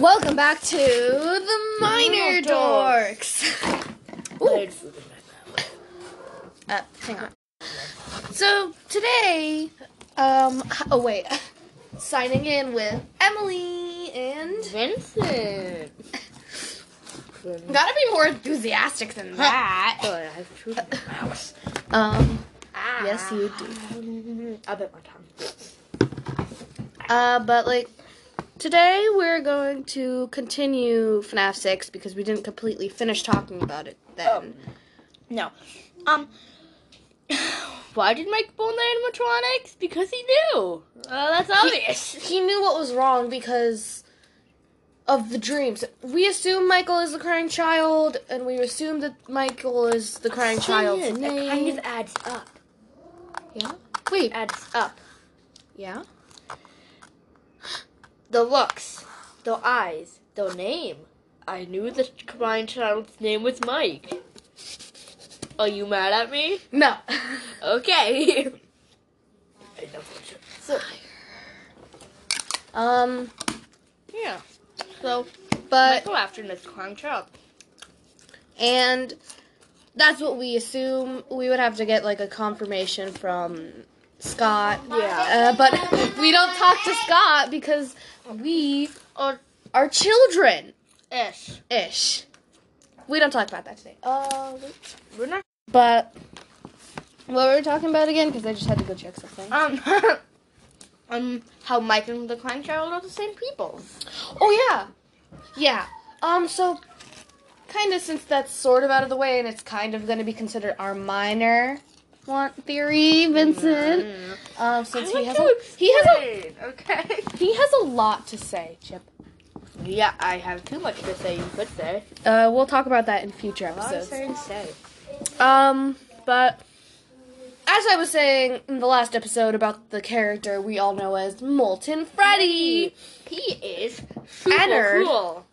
Welcome back to the Minor Dorks. Ooh, uh, hang on. So today, um, h- oh wait, signing in with Emily and Vincent. gotta be more enthusiastic than that. Sorry, I have chewed my mouth. Um, yes you do. I bit my tongue. Uh, but like today we're going to continue FNAF 6 because we didn't completely finish talking about it then. No. Um. Why did Mike pull the animatronics? Because he knew. Uh, that's obvious. He knew what was wrong because of the dreams. We assume Michael is the crying child, and we assume that Michael is the crying child's It name. kind of adds up. yeah. Wait. Adds up. Yeah. The looks, the eyes, the name. I knew the crying child's name was Mike. Are you mad at me? No. Okay. so um. yeah. So But go after Miss Clown Child. and that's what we assume. We would have to get like a confirmation from Scott. Yeah. Uh, but we don't talk to Scott because we are are children Ish. ish. We don't talk about that today. Uh, we're not. But what were we talking about again? Because I just had to go check something. Um, um, how Mike and the Clown Child are the same people. Oh yeah, yeah. Um, so kind of since that's sort of out of the way, and it's kind of going to be considered our minor want theory, Vincent. Um, since he has a, he has a Okay. he has a lot to say, Chip. Yeah, I have too much to say. You could say. Uh, we'll talk about that in future episodes. to say. Um, but as I was saying in the last episode about the character we all know as Molten Freddy, He is super Ennard. cool.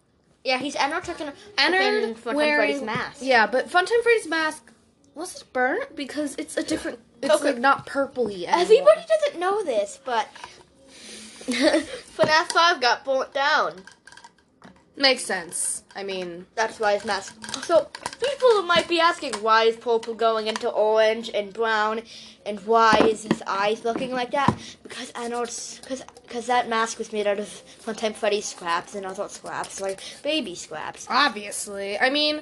Yeah, he's Ennard taking Ennard Fun Time wearing Freddy's mask. Yeah, but Funtime Freddy's mask was it burnt because it's a different. It's Okay. like not purpley. Anymore. Everybody doesn't know this, but FNAF 5 got burnt down. makes sense. I mean, That's why it's mask. So people might be asking why is purple going into orange and brown, and why is his eyes looking like that? Because I know it's because because that mask was made out of one time Freddy's scraps and I thought scraps like baby scraps. obviously, I mean,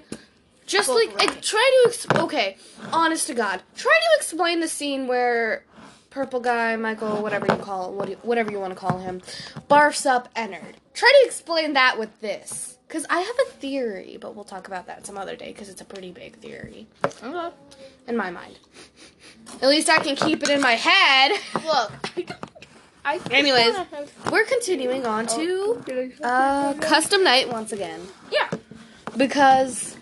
just Well, like I right. try to ex- okay, honest to God, try to explain the scene where purple guy Michael, whatever you call what do- whatever you want to call him, barfs up Ennard. Try to explain that with this, because I have a theory, but we'll talk about that some other day because it's a pretty big theory. in my mind. At least I can keep it in my head. Look. I Anyways, we're continuing on to uh, custom night once again yeah, because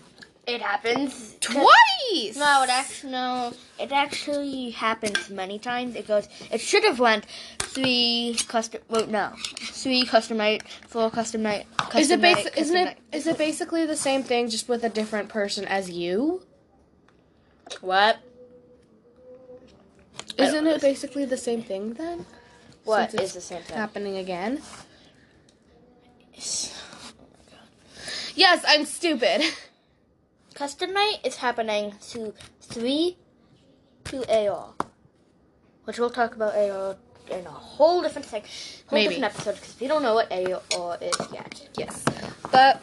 it happens twice. No, it actually no, it actually happens many times. It goes. It should have went three custom. Well, no, three custom night, four custom night. Custom Is it night, basi- custom isn't it night. is it basically the same thing just with a different person as you? What? don't Isn't know it this. basically the same thing then? What Since is the same thing? happening again? Yes, I'm stupid. Custom night is happening to three to AR, which we'll talk about AR in a whole different sec, whole Maybe. different episode because we don't know what AR is yet. Yes. But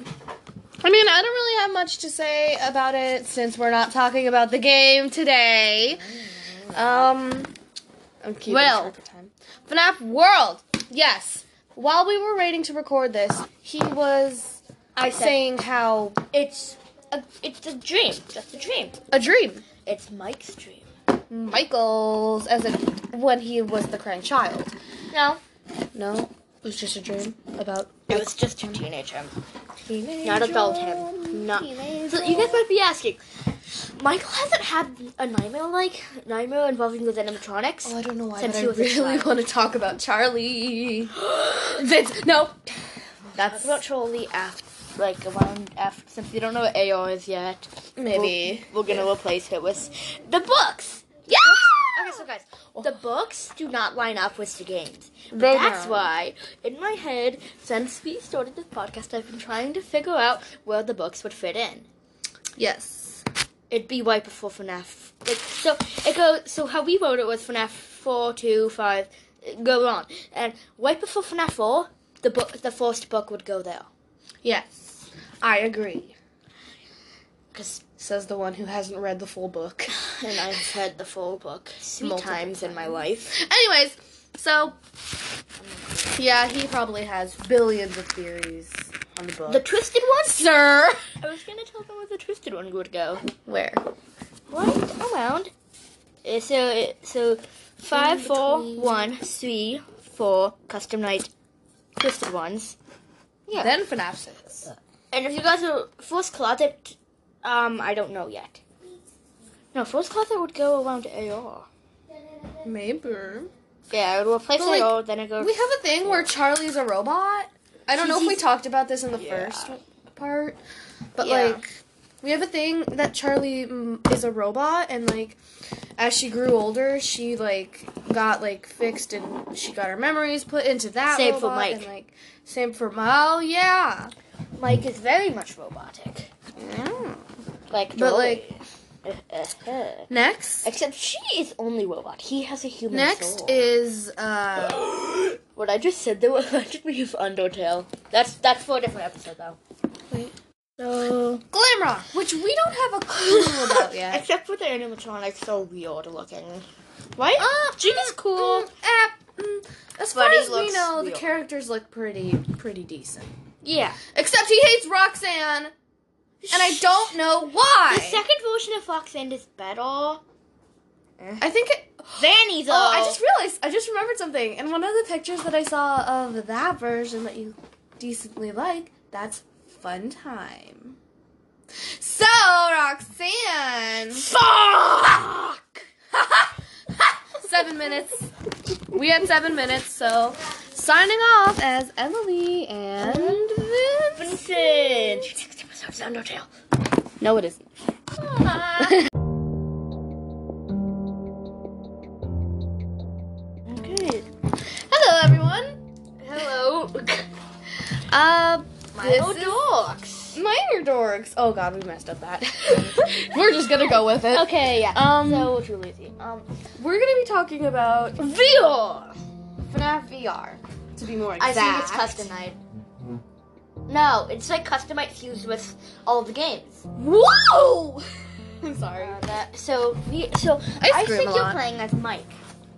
I mean, I don't really have much to say about it since we're not talking about the game today. Um I'm keeping Well. track of time. FNAF World. Yes. While we were waiting to record this, he was I said- saying how It's a, it's a dream, just a dream. a dream It's Mike's dream. Michael's as a when he was the crying child. No, No, it was just a dream about It was just a teenage him, teenage not adult him. Not. So you guys might be asking, Michael hasn't had a nightmare like nightmare involving those animatronics. Oh, I don't know why, Since but I he was a really child. want to talk about Charlie. Oh, Vince, no. That's That's about Charlie after, like around after, since you don't know what AR is yet. maybe. We're gonna replace it with the books. Yeah. Okay, okay, so guys, the books do not line up with the games. But They that's don't. why, in my head, since we started this podcast, I've been trying to figure out where the books would fit in. Yes. It'd be right before FNAF. Like, so it goes. So how we wrote it was FNAF four, two, five, uh, go on, and right before FNAF four, the book, the first book would go there. Yes. I agree. Because Says the one who hasn't read the full book. and I've read the full book three Multiple times in my life. Anyways, so yeah, he probably has billions of theories on the book. The twisted one. sir. I was gonna tell them where the twisted one would go. Where? Right around. Uh, So uh, so five, four, one, three, four custom night twisted ones. Yeah. Then FNAF 6. And if you guys are first closet, um, I don't know yet. No, first closet would go around AR. Maybe. Yeah, it would replace But, like, AR, then it goes. We have a thing where Charlie's a robot. I don't know if we talked about this in the Yeah. first part, but Yeah. like we have a thing that Charlie mm, is a robot and like as she grew older, she like got like fixed and she got her memories put into that Same for robot Mike. and like same for oh yeah. Mike is very much robotic. Mm. Like, But, Joey. Uh-huh. Next, Except she is only robot. He has a human next soul. is uh what I just said there reminded me of Undertale. That's that's for a different episode though. Wait. So Glamrock, which we don't have a clue about yet. Except for the animatronics, so weird looking. Right? Uh, Jig is Ah, cool. Mm, eh, mm, as far But he as we looks know, the real. characters look pretty pretty decent. Yeah. Except he hates Roxanne, and I don't know why. The second version of Foxend is better. I think. It, Zanny though. oh, I just realized. I just remembered something. And one of the pictures that I saw of that version that you decently like, that's Fun Time. So Roxanne. fuck. seven minutes. We had seven minutes, so signing off as Emily and Vince. Vincent. Next episode is Undertale. No, it isn't. Okay. Hello, everyone. Hello. Um, Uh, this Hello, is- dogs. minor dorks. Oh God, we messed up that. we're just gonna go with it. Okay, yeah. Um, so too lazy. Um, We're gonna be talking about VR. FNAF VR, to be more I exact. think it's customized. No, it's like customized fused with all the games. Whoa! Oh, I'm sorry, Uh, that, so we, so I I scream think a you're lot. playing as Mike.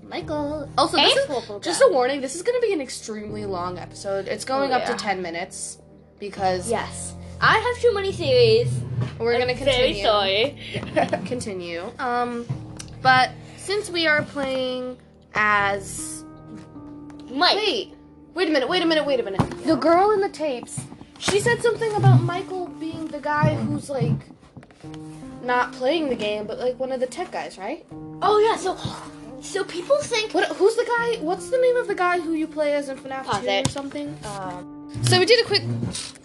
Michael. Also, And this is, Purple just Guy. a warning. This is gonna be an extremely long episode. It's going Oh, up to yeah. ten minutes because Yes. I have too many theories. we're gonna I'm continue. Very sorry. continue. Um, but since we are playing as Mike. wait, wait a minute, wait a minute, wait a minute. The girl in the tapes, she said something about Michael being the guy who's like not playing the game, but like one of the tech guys, right? Oh yeah. So, so people think. What? Who's the guy? What's the name of the guy who you play as in FNAF Pause 2 it. or something? Um, So we did a quick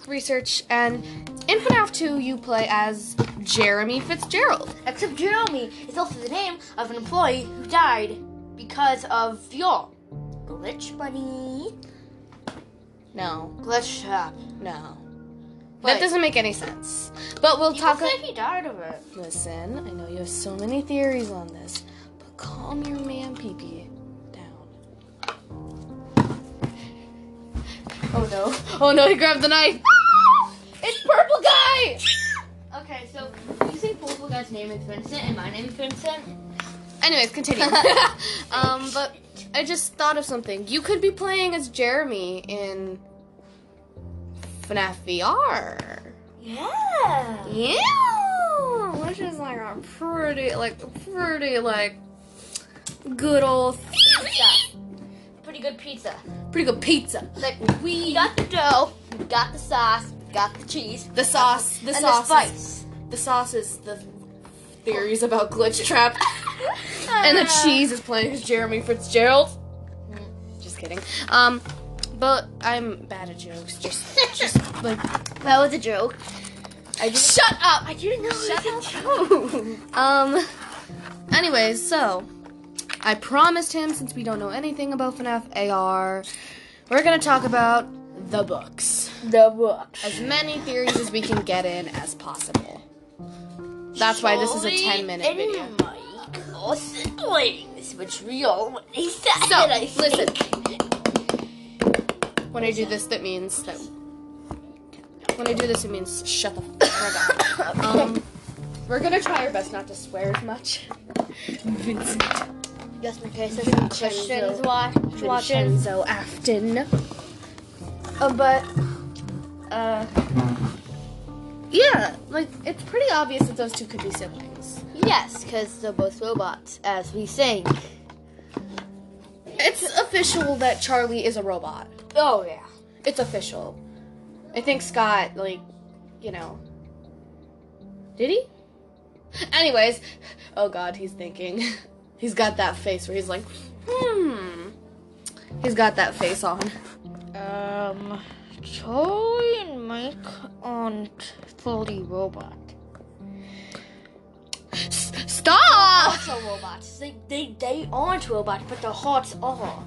research, and in FNAF 2 you play as Jeremy Fitzgerald. Except Jeremy is also the name of an employee who died because of VR. Glitch bunny. No, Glitch uh, trap. no. Wait. That doesn't make any sense. But we'll People talk. said he died of it. Listen, I know you have so many theories on this, but calm your man peepee down. Oh no. Oh no, he grabbed the knife. it's purple guy. Okay, so you think Purple Guy's name is Vincent and my name is Vincent? Anyways, continue. um, but I just thought of something. You could be playing as Jeremy in FNAF VR. Yeah. Yeah, which is like a pretty, like pretty, like good old, Pretty good pizza. pretty good pizza. Like we got the dough, we got the sauce, we got the cheese, The sauce, the and sauce, the spice. the sauce is the theories about glitch trap, and the Ah. cheese is playing as Jeremy Fitzgerald. Hmm, Just kidding. Um, but I'm bad at jokes. Just, just like That was a joke. I just shut up. I didn't know it was a joke. Um. Anyways, so I promised him, since we don't know anything about FNAF AR, we're gonna talk about the books. The books. As many theories as we can get in as possible. That's why this is a 10 minute video. Mike are siblings, which we already said. So, I think. When I do this, that means that. When I do this, it means shut the fuck up. Um, we're gonna try our best not to swear as much. Vincent Just in case there's some Christians watch, watching. Vincenzo Afton. Uh, but, uh, yeah, like it's pretty obvious that those two could be siblings. Yes, because they're both robots, as we think. It's official that Charlie is a robot. Oh, yeah. It's official. I think Scott, like, you know. Did he? Anyways, oh god, he's thinking. He's got that face where he's like, hmm. He's got that face on. Um, Charlie and Mike aren't fully robot. S- stop! Also robots. They, they they aren't robots, but their hearts are.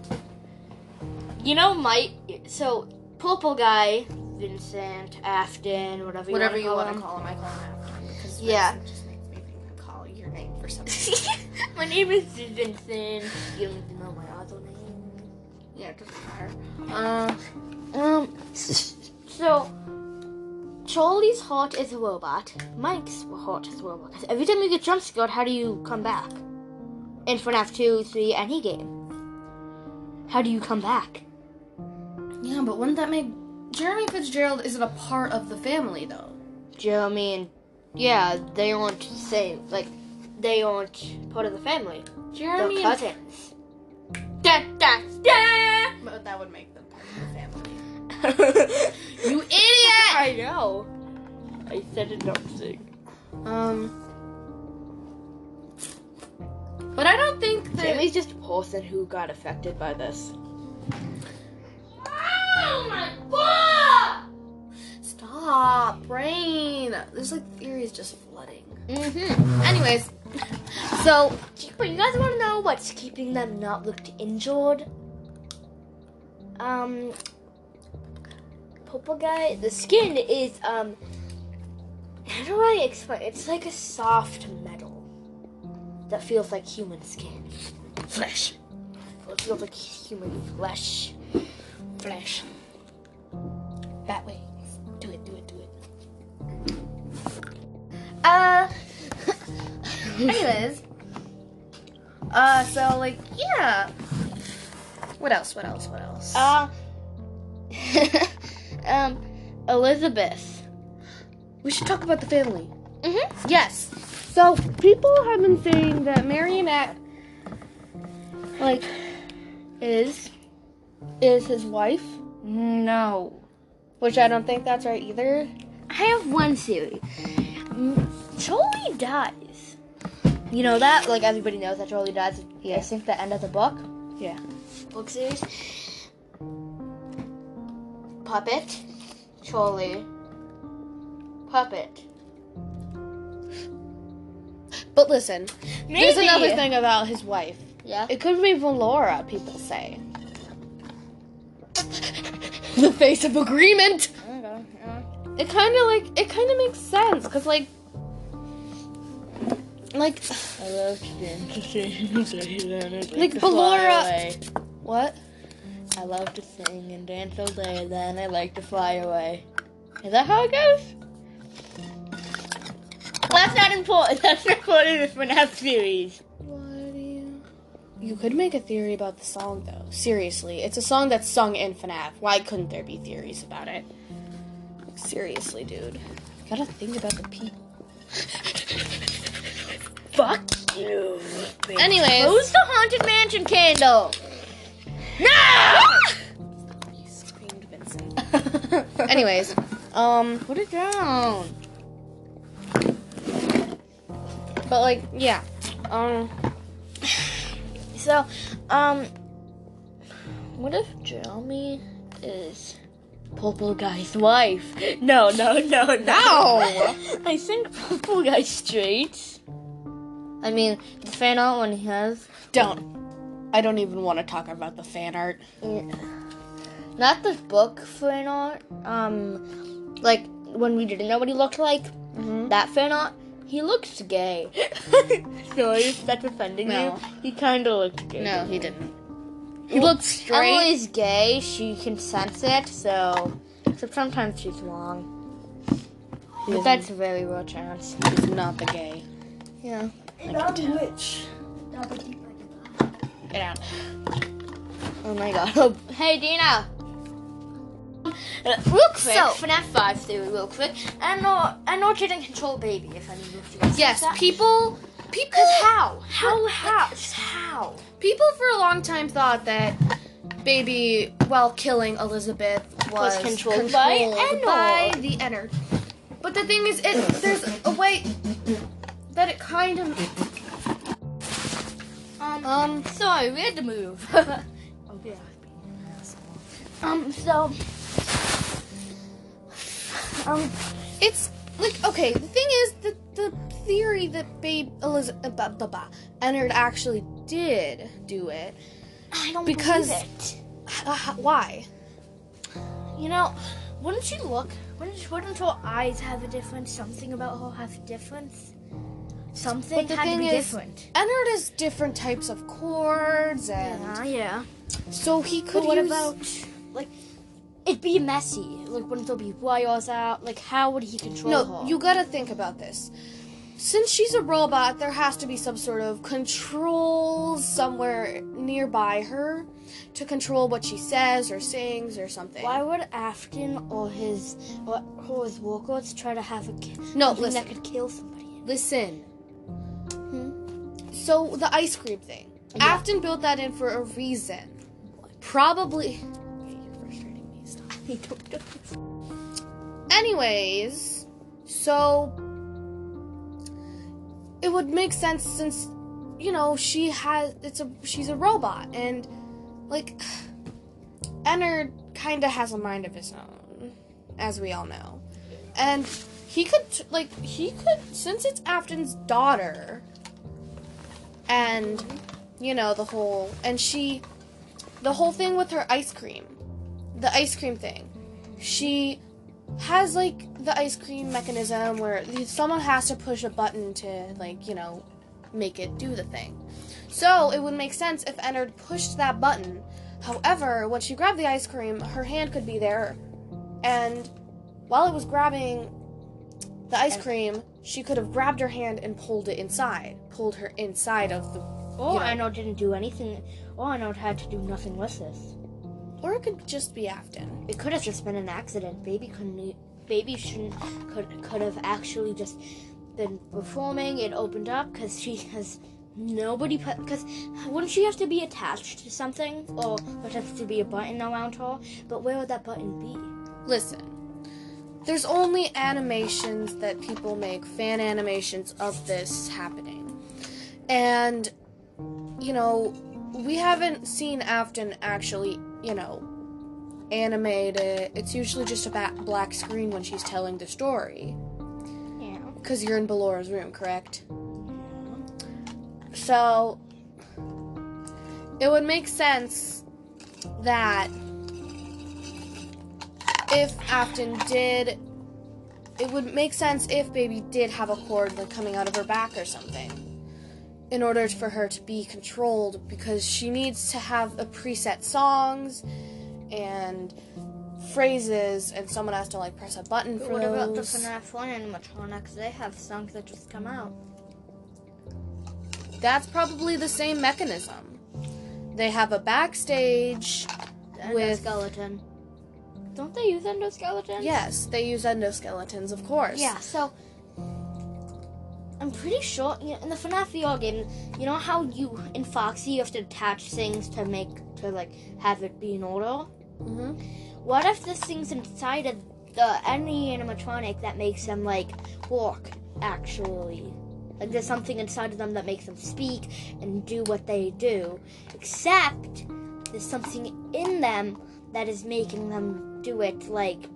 You know, Mike. So purple guy, Vincent Afton, whatever you Whatever you want to call him, I call him after. 'cause Yeah. Vincent just makes me think I call your name for something. him. My name is Vincent. You don't even know my other name. yeah, it doesn't matter. Uh, Um. So. Charlie's heart is a robot. Mike's heart is a robot. 'Cause every time you get jump scared, how do you come back? In FNAF 2, 3, any game. How do you come back? yeah, but wouldn't that make. Jeremy Fitzgerald isn't a part of the family, though. Jeremy and yeah, they aren't the same. Like they aren't part of the family. Jeremy They're and cousins. Da, da, da. But that would make them part of the family. you idiot! I know. I said it nothing. Um. But I don't think that. Jeremy's just a person who got affected by this. Oh my god! Stop, brain. There's like theories just flooding. Mhm. Anyways, so But you guys want to know what's keeping them not looked injured? Um, purple guy. The skin is um. How do I explain? It's like a soft metal that feels like human skin. flesh, It feels like human flesh. flesh. That way. Do it. Do it. Do it. Uh, Anyways. Uh. So like yeah. What else? What else? What else? uh, um, Elizabeth. we should talk about the family. Mhm. Mm-hmm. Yes. So people have been saying that Marionette, like, is is his wife, No. which I don't think that's right either. I have one theory. Mm, Charlie dies. You know that? Like everybody knows that Charlie dies. Yeah. I think the end of the book. Yeah. Book series. Puppet. Charlie. Puppet. But listen, Maybe. there's another thing about his wife. Yeah. It could be Valora, people say. the face of agreement. It kind of like it kind of makes sense because like like like Ballora- what? I love to sing and dance all day, then I like to fly away. Is that how it goes? That's not important. That's recorded for FNAF series. You could make a theory about the song, though. Seriously, it's a song that's sung in FNAF. Why couldn't there be theories about it? Seriously, dude. You gotta think about the people. Fuck you. Anyways. Who's the Haunted Mansion candle? No! You screamed, Vincent. Anyways, um, Put it down. but like, yeah. Um, So, um, what if Jeremy is Purple Guy's wife? No, no, no, no. No! I think Purple Guy's straight. I mean, the fan art one he has. don't. I don't even want to talk about the fan art. Not the book fan art. Um, like when we didn't know what he looked like. Mm-hmm. That fan art. He looks gay. Sorry if that's offending No. you. He kind of looked gay. No, he didn't. He looked straight. Emily's gay. She consents it, so except sometimes she's wrong. But that's a very real chance. He's not the gay. Yeah. Not which. Not the deeper. Get out. Oh my god. Oh, hey, Dina. Uh, real quick, So- FNAF 5 theory, real quick. I know, I know, she didn't control baby. If any of you guys Yes, that. people. People. Cause how? How? How? Just how? People for a long time thought that baby, while killing Elizabeth, was, Was controlled by controlled Ennard. by the Ennard. But the thing is, it there's a way that it kind of. Um, um. Sorry, we had to move. oh yeah. Um. So. Um. It's like okay. The thing is, the the theory that babe Elizabeth uh, bah, bah, bah, Ennard actually did do it. I don't Because- believe it. Uh, h- why? You know, wouldn't she look? Wouldn't wouldn't her eyes have a difference? Something about her have a difference. Something But the had thing to be is- different. Ennard is different types of chords, and yeah. so he uh, could But what use. about like? It'd be messy. Like, wouldn't there be wires out? Like, how would he control No, her? you gotta think about this. Since she's a robot, there has to be some sort of control somewhere nearby her to control what she says or sings or something. Why would Afton or his or, or his walkouts try to have a ki- No, something listen. that could kill somebody? Listen. Hmm? So the ice cream thing. Afton built that in for a reason. Probably. You're frustrating me. Stop. I don't know. Anyways, so it would make sense since you know she has it's a she's a robot and like Ennard kind of has a mind of his own, as we all know, and he could like he could since it's Afton's daughter, and you know the whole and she the whole thing with her ice cream, the ice cream thing, she has like the ice cream mechanism where someone has to push a button to like you know make it do the thing so it would make sense if ennard pushed that button however when she grabbed the ice cream her hand could be there and while it was grabbing the ice cream she could have grabbed her hand and pulled it inside pulled her inside of the Or You know. Arnold didn't do anything. Or Arnold had to do nothing with this. or it could just be afton It could have just been an accident. Baby couldn't. e- Baby shouldn't. Could could have actually just been performing. It opened up because she has nobody. Because wouldn't she have to be attached to something, or would have to be a button around her? But where would that button be? listen there's only animations that people make fan animations of this happening and you know we haven't seen afton actually you know animate it it's usually just a ba- black screen when she's telling the story Yeah. because you're in Belora's room, correct? So it would make sense that if Afton did, it would make sense if Baby did have a cord like coming out of her back or something. In order for her to be controlled, because she needs to have a preset songs and phrases, and someone has to like press a button for What about the those. FNAF 1 animatronics? They have songs that just come out. That's probably the same mechanism. They have a backstage. The With- endoskeleton. Don't they use endoskeletons? Yes, they use endoskeletons, of course. Yeah, so I'm pretty sure you know, in the FNAF VR game, you know how you in Foxy you have to attach things to make to like have it be in order. hmm What if this thing's inside of the any animatronic that makes them like walk actually? Like there's something inside of them that makes them speak and do what they do, except there's something in them that is making them do it like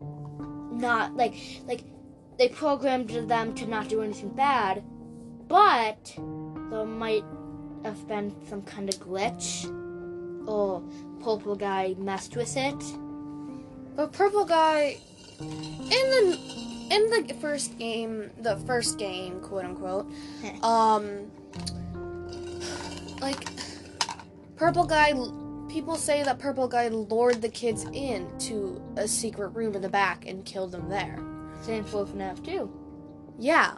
not like like they programmed them to not do anything bad, but there might have been some kind of glitch, or Purple Oh, Guy messed with it. But purple guy in the in the first game, the first game, quote unquote, um, like purple guy. People say that purple guy lured the kids in to a secret room in the back and killed them there. Same for FNAF too. Yeah.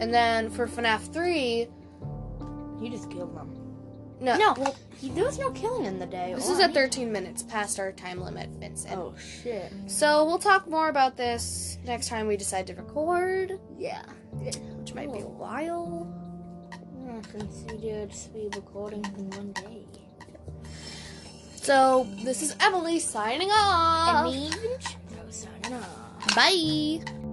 And then for FNAF three, You just killed them. no, Uh, No, well, he, there was no killing in the day. This or is at anything. 13 minutes past our time limit, Vincent. Oh shit. So we'll talk more about this next time we decide to record, Yeah. which might be a while. I considered we recording in one day. So Oh. this is Emily signing off. And me even Rose, no. Bye.